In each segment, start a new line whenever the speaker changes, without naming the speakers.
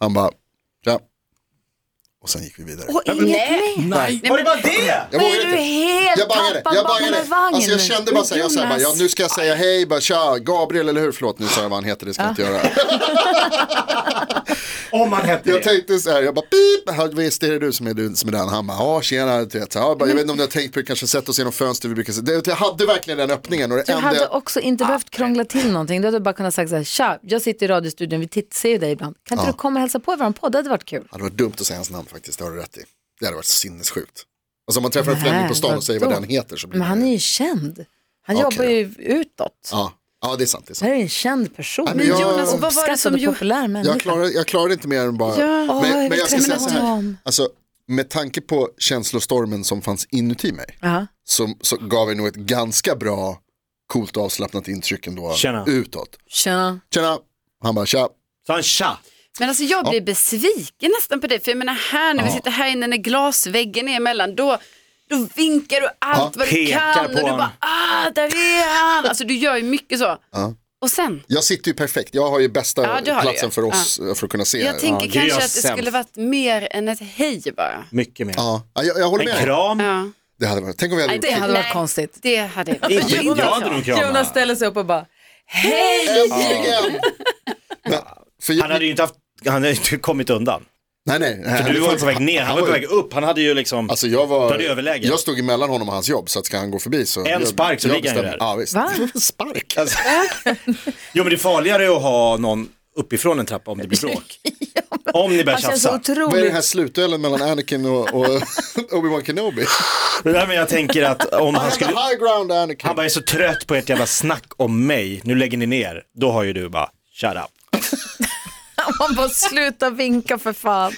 Han bara, tja. Och sen gick vi vidare.
Och inget mer.
Nej. Var det bara det?
Men
jag
är du helt
Jag bangade,
tappad
jag
bakom
bangade.
en vagn?
Alltså jag kände bara så här, jag sa bara,
Jonas.
ja, nu ska jag säga hej, bara tja, Gabriel eller hur, förlåt, nu sa jag vad han heter, det ska jag inte göra.
Om han hette
Jag
det.
tänkte så här, jag bara pip, ja, visst är det du som är, du, som är den, han bara, ja tjena, du vet, så här, jag, bara, jag vet inte om ni har tänkt på det, kanske sett oss genom fönster, vi brukar se, det, jag hade verkligen den öppningen och det
Du
enda
hade
jag-
också inte behövt krångla till någonting. Du hade bara kunnat säga så här, tja, jag sitter i radiostudion, vi titt- ser ju dig ibland. Kan inte du komma och hälsa på i våran podd? Det hade varit kul.
Ja, det var dumt att säga hans namn faktiskt, det har du rätt i. Det hade varit sinnessjukt. Alltså om man träffar en
Nej,
främling på stan och säger vad
vadå?
den heter så blir
Men han
det...
är ju känd. Han
Okej
jobbar ju utåt.
Ja. ja, det är sant. Det
Han
är sant.
är ju en känd person.
Nej, men jag- Jonas,
vad var det som
Uppskattad och
gjorde-
populär människa.
Jag klarade, jag klarade inte mer än bara...
Åh, jag
men,
vill
men jag ska
träffa
säga så här,
honom.
alltså, med tanke på känslostormen som fanns inuti mig
Ja.
så, så gav jag nog ett ganska bra, coolt och avslappnat intryck ändå
Tjena.
utåt.
Tjena.
Tjena, han bara tja.
Sa han tja?
Men alltså jag blir besviken nästan på dig, för jag menar här när vi sitter här inne när glasväggen är emellan, då, då vinkar du allt vad du
pekar
kan
på
och du
honom.
bara ah, där är han. Alltså du gör ju mycket så. Och sen,
Jag sitter ju perfekt, jag har ju bästa
Ja, du har det
platsen
ju.
för oss eh, för att kunna se.
jag tänker
det är
kanske
jag
att det
sämst.
skulle varit mer än ett hej bara.
Mycket mer.
ja, Ja, jag, jag håller
En
med. dig.
kram?
Ja.
Det hade varit, tänk om vi hade
Nej,
gjort
Det
det
det.
hade varit
Nej.
konstigt.
Det hade jag
Inte
inte.
jag hade nog
Jonas
kramat.
ställer sig upp och bara, hej!
Äntligen! Men, för jag,
Han hade ju inte haft, han hade ju inte kommit undan.
Nej, nej.
För du var inte på väg ner, han var på väg upp. Han hade ju liksom,
Alltså jag
Då
var,
hade du överläge.
jag stod emellan honom och hans jobb så att ska han gå förbi så.
En spark så
jag
ligger han ju
bestämde-
där. Alltså,
Ja, visst.
Va?
Spark?
jo men det är farligare att ha någon uppifrån en trappa om det blir bråk. Om ni börjar
Han känns så
tjafsa.
Vad är den
otroligt
här slutduellen mellan Anakin och, och Obi-Wan Kenobi?
Det där men jag tänker att om han
Han
skulle,
high ground Anakin.
han bara är så trött på ert jävla snack om mig, nu lägger ni ner, då har ju du bara, shut up.
Man bara sluta vinka för fan.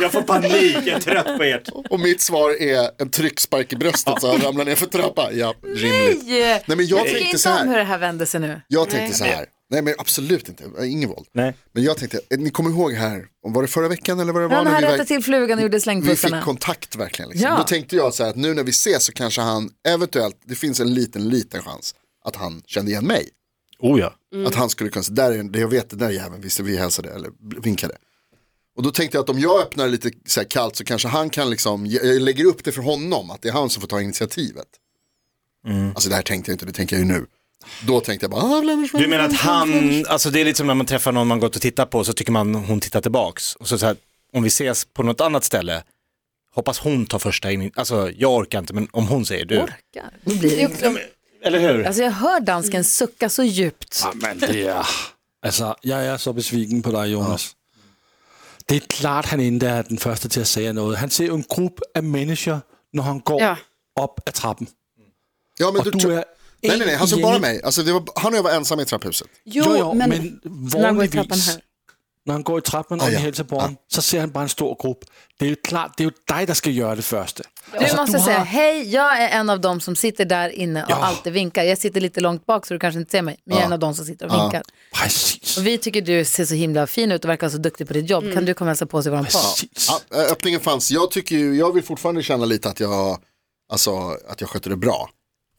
Jag får panik, jag är trött på ert.
Och mitt svar är en tryckspark i bröstet så han ramlar ner för trappan. Ja, rimligt.
Nej,
Nej men jag
tycker
tänkte
inte
så
om hur
här.
det här vände sig nu.
Jag tänkte så här. Nej men absolut inte, ingen våld.
Nej.
Men jag tänkte, eh, ni kommer ihåg här, om var det förra veckan eller vad det var?
Han
när
här
vi
rättade
verk-
till flugan och gjorde
Vi fick
slängpussarna.
kontakt verkligen. Liksom.
Ja.
Då tänkte jag så här att nu när vi ses så kanske han eventuellt, det finns en liten, liten chans att han kände igen mig.
Oh ja.
Mm.
Att han skulle kunna, så där är, det jag vet den där jäveln, visst vi hälsade eller vinkade. Och då tänkte jag att om jag öppnar lite så här kallt så kanske han kan liksom, jag, jag lägger upp det för honom, att det är han som får ta initiativet. Alltså det här tänkte jag inte, det tänker jag ju nu. Då tänkte jag bara, ah, Blenders,
Du menar att han, alltså det är lite som när man träffar någon man gått och tittat på så tycker man hon tittar tillbaks. Och så, så här, om vi ses på något annat ställe, hoppas hon tar första in, alltså jag orkar inte men om hon säger du.
Orkar. Nu blir det inte.
Eller hur?
Alltså jag hör dansken sucka så djupt.
Men det er... Altså, jeg er Alltså, så besviken på dig, Jonas. Det er klart, han ikke er den første til at sige noget. Han ser jo en gruppe af mennesker, når han går
Ja.
op ad trappen.
ja, men
Og
du,
du er
nej, nej, nej, han såg bara
igen i-
mig. Alltså, det var, han och jag var ensamma i trapphuset.
Jo,
Jo, jo, men,
men,
men
Når han går i trappen
vanligvis,
her.
når han går i trappen,
Ah,
og vi
ja.
hälsar på ham, så ser han bare en stor gruppe. Det er jo klart, det er jo dig, der skal gøre det første.
Alltså, Du måste
har-
säga, hej, jag är en av dem som sitter där inne och alltid vinkar. Jag sitter lite långt bak så du kanske inte ser mig, men jag är en av dem som sitter och vinkar.
Præcis.
Och vi tycker du ser så himla fin ut och verkar så duktig på ditt jobb. Kan du komma och hälsa på oss i våran podd?
Præcis.
Ja, ö- öppningen fanns. Jag, tycker ju, jag vill fortfarande känna lite att jag, alltså, att jag skötte det bra.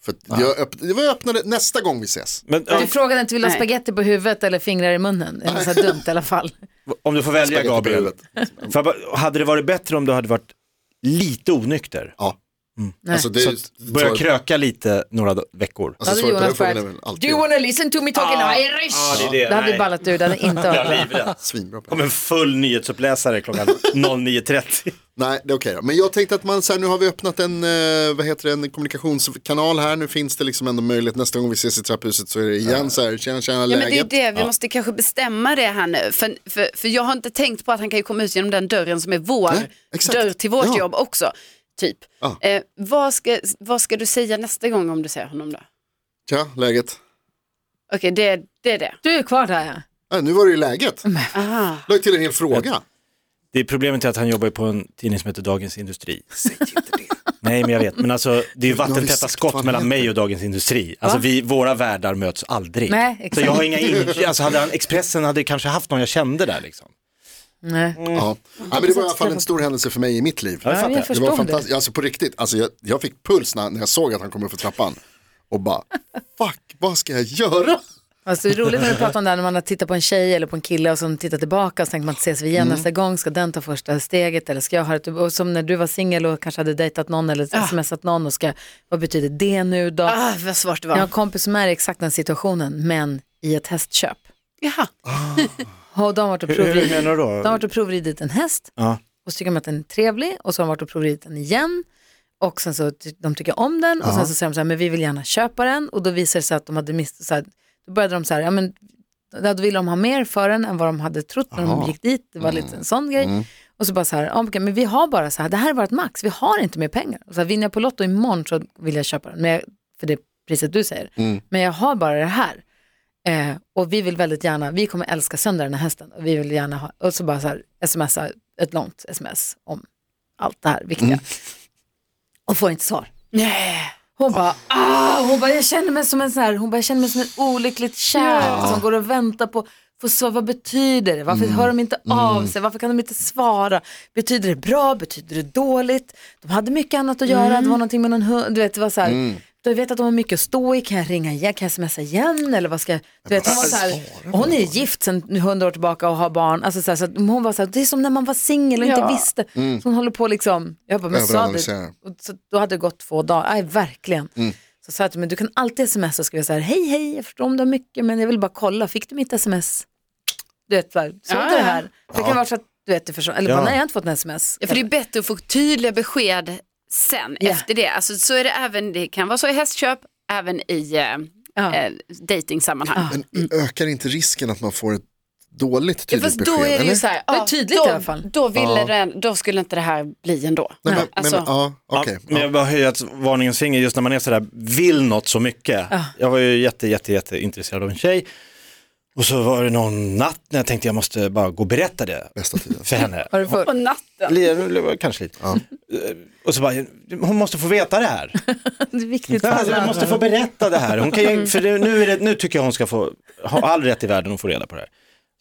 För att jag, öpp, det var jag öppnade nästa gång vi ses.
Men, ja,
Du frågade inte, vill du ha
Nej.
spagetti på huvudet eller fingrar i munnen? Det var så här dumt i alla fall.
om du får välja
Spagetti på
Gabriel.
huvudet.
Får jag bara- hade det varit bättre om du hade varit lite onykter?
Alltså, det är,
Mm. Så
ju-
att börja
så-
kröka lite några do- veckor.
Alltså,
Då
svaret på
hade
den
Jonas
frågan är
börjat,
väl
do
alltid
you wanna listen to me talking Irish? Ah. Det hade ju ballat ur, det hade inte hört.
svinbra. på det.
Kom en full nyhetsuppläsare klockan 09.30.
Nej, det är okej då. Men jag tänkte att man, så här, nu har vi öppnat en, eh, vad heter det, en kommunikationskanal här. Nu finns det liksom ändå möjlighet. Nästa gång vi ses i trapphuset så är det igen så här, tjena tjena
ja,
läget.
men det är det, vi måste kanske bestämma det här nu. För, för, för jag har inte tänkt på att han kan ju komma ut genom den dörren som är vår
Nej, exakt.
dörr till vårt
Ja.
jobb också. Typ.
Ja.
Eh, vad, ska, vad ska du säga nästa gång om du ser honom då?
Tja, läget.
Okej, det, det är det.
Du är kvar där ja.
Äh, nu var det ju läget.
Aha. Mm.
Lägg till en hel fråga.
Det är problemet är att han jobbar ju på en tidning som heter Dagens Industri. Säg inte det. Nej, men jag vet. Men alltså, det är ju
Nu har vi
vattentäta
sagt vad
skott
han
mellan
heter.
mig och Dagens Industri. Alltså, vi, våra världar möts aldrig.
Nej,
Så
exakt.
jag har inga in... alltså, hade han... Expressen hade kanske haft någon jag kände där liksom.
Nej.
Mm.
Ja. Ja, men det var i alla fall en stor händelse för mig i mitt liv.
Ja, jag fattar.
jag
Det var
förstår det.
fantastiskt, alltså på riktigt, alltså jag, jag fick puls när, när jag såg att han kom upp för trappan och bara, fuck, vad ska jag göra?
Alltså, det är roligt när du pratar om det här när man har tittat på en tjej eller på en kille och som tittar tillbaka och så tänker man att ses vi igen nästa gång, ska den ta första steget eller ska jag ha det? Och som när du var singel och kanske hade dejtat någon eller smsat någon och ska, vad betyder det nu då?
Ah, vad svårt det
Jag har en
var.
kompis som är i exakt den situationen men i ett hästköp.
Jaha.
Och de har varit och
Hur, hur
provridit,
menar du
de har
då?
varit och provridit en häst
Ja.
och så tycker de att den är trevlig och så har de varit och provridit den igen och sen så ty- de tycker om den och sen så säger de så här, men vi vill gärna köpa den och då visar det sig att de hade missat, så här, då började de så här, ja men då ville de ha mer för den än vad de hade trott när de gick dit, det var
Mm.
lite en sån grej. Och så bara så här, ja, okej, men vi har bara så här, det här är vårt max, vi har inte mer pengar. Och så här, vinner jag på Lotto imorgon så vill jag köpa den, men jag, för det priset du säger.
Mm.
Men jag har bara det här. Eh, och vi vill väldigt gärna, vi kommer älska sönder den här hästen. Och vi vill gärna ha, och så bara så här, smsa ett långt sms om allt det här viktiga. Och får inte svar.
Nej.
Hon bara, ah! hon bara, jag känner mig som en sån här, hon bara, jag känner mig som en olyckligt kär som går och väntar på, får svar, vad betyder det? Varför hör de inte av sig? Varför kan de inte svara? Betyder det bra? Betyder det dåligt? De hade mycket annat att göra, det var någonting med någon hund, du vet, det var så här, du vet att de har mycket att stå i, kan jag ringa igen, kan jag smsa igen eller vad ska jag, du vet, hon var så här, och hon är gift sedan hundra år tillbaka och har barn, alltså så här, så att hon var så här, det är som när man var singel och inte
Ja.
visste, så hon håller på liksom, jag bara, men sa
Överanalysera.
du, och så, då hade det gått två dagar, nej verkligen.
Mm.
Så sa jag till mig, du kan alltid smsa och skriva så här, hej hej, jag förstår om du har mycket men jag vill bara kolla, fick du mitt sms? Du vet, så här, såg
Ah, Ja,
du det
ja.
här? Det kan vara så att du vet, det försvann, eller bara,
Ja.
nej jag har inte fått en sms.
Ja, för det är bättre att få tydliga besked sen
Ja.
efter det. Alltså, så är det även, det kan vara så i hästköp, även i eh,
Ja.
eh, dejtingsammanhang.
Men ökar inte risken att man får ett dåligt
Mm. Ja,
tydligt
fast
besked?
då är det
eller?
ju så här,
Det är
ja,
tydligt
då,
i alla fall.
Då, ville den, då skulle inte det här bli ändå.
Nej, men,
Alltså,
men, ja, okej.
Ja, men jag bara höjer ett varningens finger just när man är sådär, vill något så mycket. Jag var ju jätte, jätte, jätte intresserad av en tjej. Och så var det någon natt när jag tänkte jag måste bara gå och berätta det
Bästa tiden.
för henne.
Har du fått?
På natten.
Lite- Kanske lite. Eh, Och så bara, hon måste få veta det här.
Det är viktigt för
Alltså,
alla.
jag måste få berätta det här. Hon kan, ju- för det, nu, är det, nu tycker jag hon ska få, ha all rätt i världen att få reda på det här.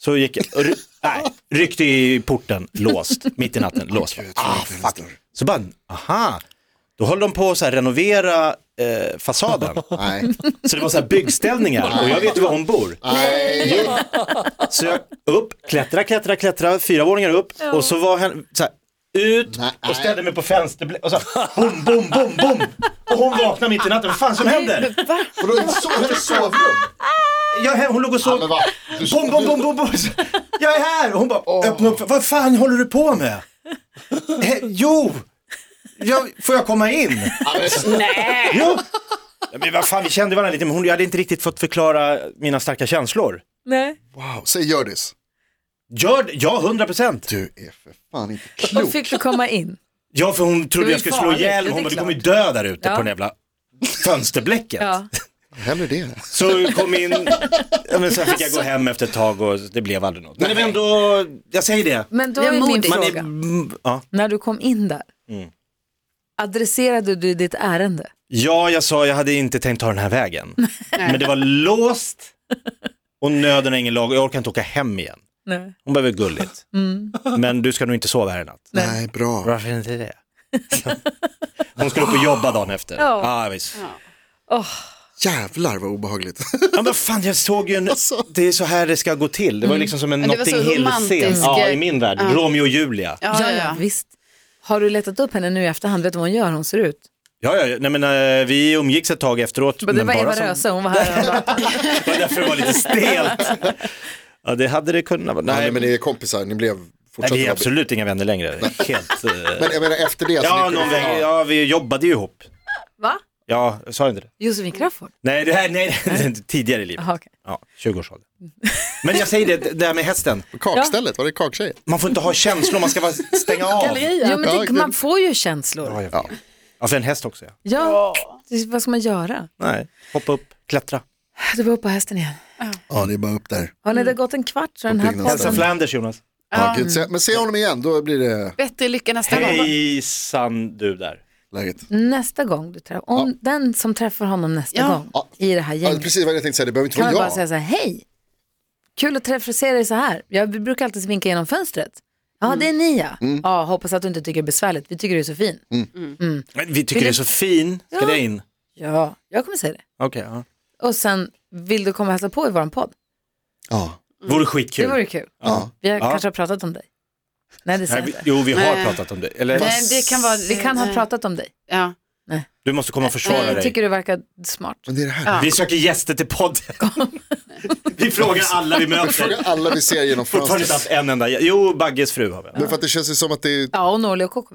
Så gick jag, ry, nej, ryckte i porten, låst, mitt i natten, låst. Ah, fuck. Så bara, aha, då höll de på att så här renovera eh, fasaden.
Nej.
Så det var så här byggställningar och jag vet ju var hon bor.
Nej.
Så jag upp, klättra, klättra, klättra, fyra våningar upp och så var han så här, ut
Nej.
och ställde mig på fönsterblecket och så här, bom, bom, bom, bom. Och hon vaknade mitt i natten, vad fan som händer?
Vadå, ett so- ett sovrum?
Jag, är här, hon låg och
Ja,
sov.
men va? Du-
Bom, bom, bom, bom, bom. Jag är här! Hon bara, öppna upp, vad fan håller du på med? Eh, jo! Jag, får jag komma in?
Ja, men-
Jo! Äh. Ja, men vad fan, vi kände varandra lite, men hon, jag hade inte riktigt fått förklara mina starka känslor.
Nej.
Wow, säg Hjördis.
Gör, ja, hundra procent.
Du är för fan inte
Och
klok.
fick du komma in?
Ja, för hon trodde
Det
jag
var ju
skulle slå
farligt,
ihjäl
det är
Hon bara, du
klart.
kommer ju dö där ute
Ja.
på den jävla fönsterblecket.
Ja.
Hellre det.
Så kom in, ja, men sen fick jag gå hem efter ett tag och det blev aldrig något. Men det var ändå, jag säger det.
Men då
Det är
är min
modigt.
Man
fråga,
är, mm, ja. Mm.
när du kom in där, adresserade du ditt ärende?
Ja, jag sa jag hade inte tänkt ta den här vägen. Men det var låst och nöden är ingen lag och jag orkar inte åka hem igen.
Nej.
Hon behöver gulligt. Men du ska nog inte sova här i natt.
Nej, bra.
Varför inte det? Hon skulle upp och jobba dagen efter.
Ja.
Ja, visst.
Jävlar vad obehagligt.
Ja, men fan, jag såg ju en... Det är så här det ska gå till. Det var ju liksom som en
Ja, det var så
Notting Hill-scen.
romantisk,
Ja,
eh,
i min värld. Romeo och Julia. Ja,
Ja, ja, ja.
visst. Har du letat upp henne nu i efterhand? Vet du vad hon gör? Hon ser ut.
ja, ja. Nej, men, eh, vi umgicks ett tag efteråt.
Men det var Eva
som-
Röse, hon var här. och bara,
Det var därför det var lite stelt. Ja, det hade det kunnat vara.
Nej,
Nej,
men ni är kompisar, ni blev
Nej,
fortsatt
vi är
vara-
absolut inga vänner längre. Helt, eh,
Men jag menar efter det. så
ja,
ni kunde-
någon väg, ja, vi jobbade ju ihop.
Va?
Ja, jag sa inte det?
Josefin Crafoord?
Nej, det här, nej, det är tidigare i livet.
Jaha, okej.
Ja, 20-årsåldern. Men jag säger det, det här med hästen.
Kakstället, var det kaktjejer?
Man får inte ha känslor, man ska bara stänga av.
Jo, men det,
Ja,
man får ju känslor.
Ja, för en häst också ja.
Ja, det- vad ska man göra?
Nej, hoppa upp, klättra.
Du var upp på hästen igen.
Ja, det är bara upp där.
Har ni det gått en kvart så den här
Uppbyggnads-
Hälsa
podden...
Flanders Jonas.
Ja, gud, se, men se honom igen, då blir det
Bättre lycka nästa gång.
Hejsan du där.
läget.
Nästa gång du träffar, om den som träffar honom nästa
Ja.
gång
Ja.
i det här
Ja, det är
gänget
precis vad jag tänkte säga, det behöver inte
kan
vara
man bara
jag.
säga så här, hej, kul att träffa se dig så här. Jag brukar alltid svinka genom fönstret. Ja,
Mm.
det är ni ja. ja. Hoppas att du inte tycker det är besvärligt, vi tycker du är så fin.
Mm.
Men vi tycker det är så fin. Ska det in?
Ja, jag kommer säga det.
Okej, ja.
Och sen, vill du komma och hälsa på i våran podd?
Ja.
Vore
Det
skitkul.
vore kul.
Ja.
Vi har,
Ja.
kanske har pratat om dig. Nej, det säger
Nej,
jag
vi,
inte.
jo, vi har
Nej.
pratat om det. Eller,
Nej, det kan vara...
Vi kan ha
nej.
pratat om dig.
Ja.
Du måste komma och försvara
Jag
dig.
tycker du verkar smart.
Men det är det här.
Vi söker gäster till podden. vi frågar alla vi
Fråga
möter.
alla vi ser genom
Fortfarande inte
fönstret.
haft en enda. gäst. Jo, Bagges fru har vi.
Men för att det känns ju som att det är,
Ja, och Norli och Coco.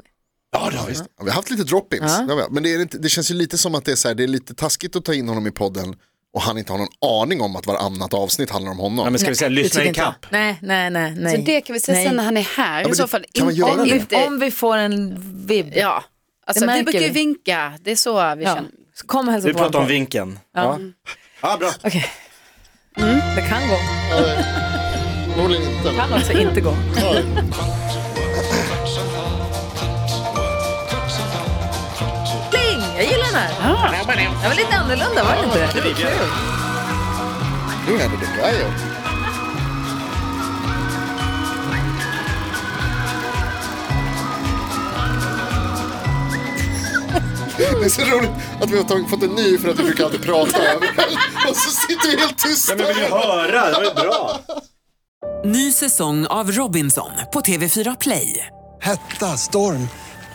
Ja, det har vi.
ja, vi har haft lite drop-ins.
Ja.
Ja, Men det, är inte, det känns ju lite som att det är, så här, det är lite taskigt att ta in honom i podden och han inte har någon aning om att varannat avsnitt handlar om honom.
Ja, men ska vi säga
Det
lyssna
tycker
i
inte jag.
kapp?
Nej, nej, nej. nej.
Så det kan vi säga
Nej.
sen när han är här. I
men
så
det-
fall
kan man
inte-
göra det?
inte-
Om vi får en vibb.
Ja, alltså, vi
märker
brukar ju
vi.
vinka. Det är så vi
Ja.
känner.
Så Kom och hälsa
Vi
på
pratar om
honom.
vinkeln. Ja.
Ah,
Ja, bra.
Okej. Mm. Det kan gå.
Förmodligen inte.
Kan också inte gå. Pling! Jag gillar den här.
Ah.
Den var lite annorlunda, var den inte det?
Nu händer det grejer. Det är så roligt att vi har tagit, fått en ny för att vi brukar alltid prata över Och så sitter vi helt tysta.
Men vi vill ju höra, det var ju bra.
Ny säsong av Robinson på TV4 Play.
Hetta, storm,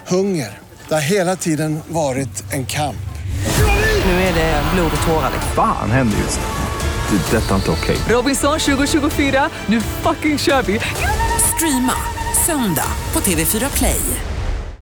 hunger. Det har hela tiden varit en kamp.
Nu är det blod och tårar. liksom.
Fan händer just det. Det är detta inte okej.
Robinson 2024, nu fucking kör vi! Streama söndag på TV4 Play.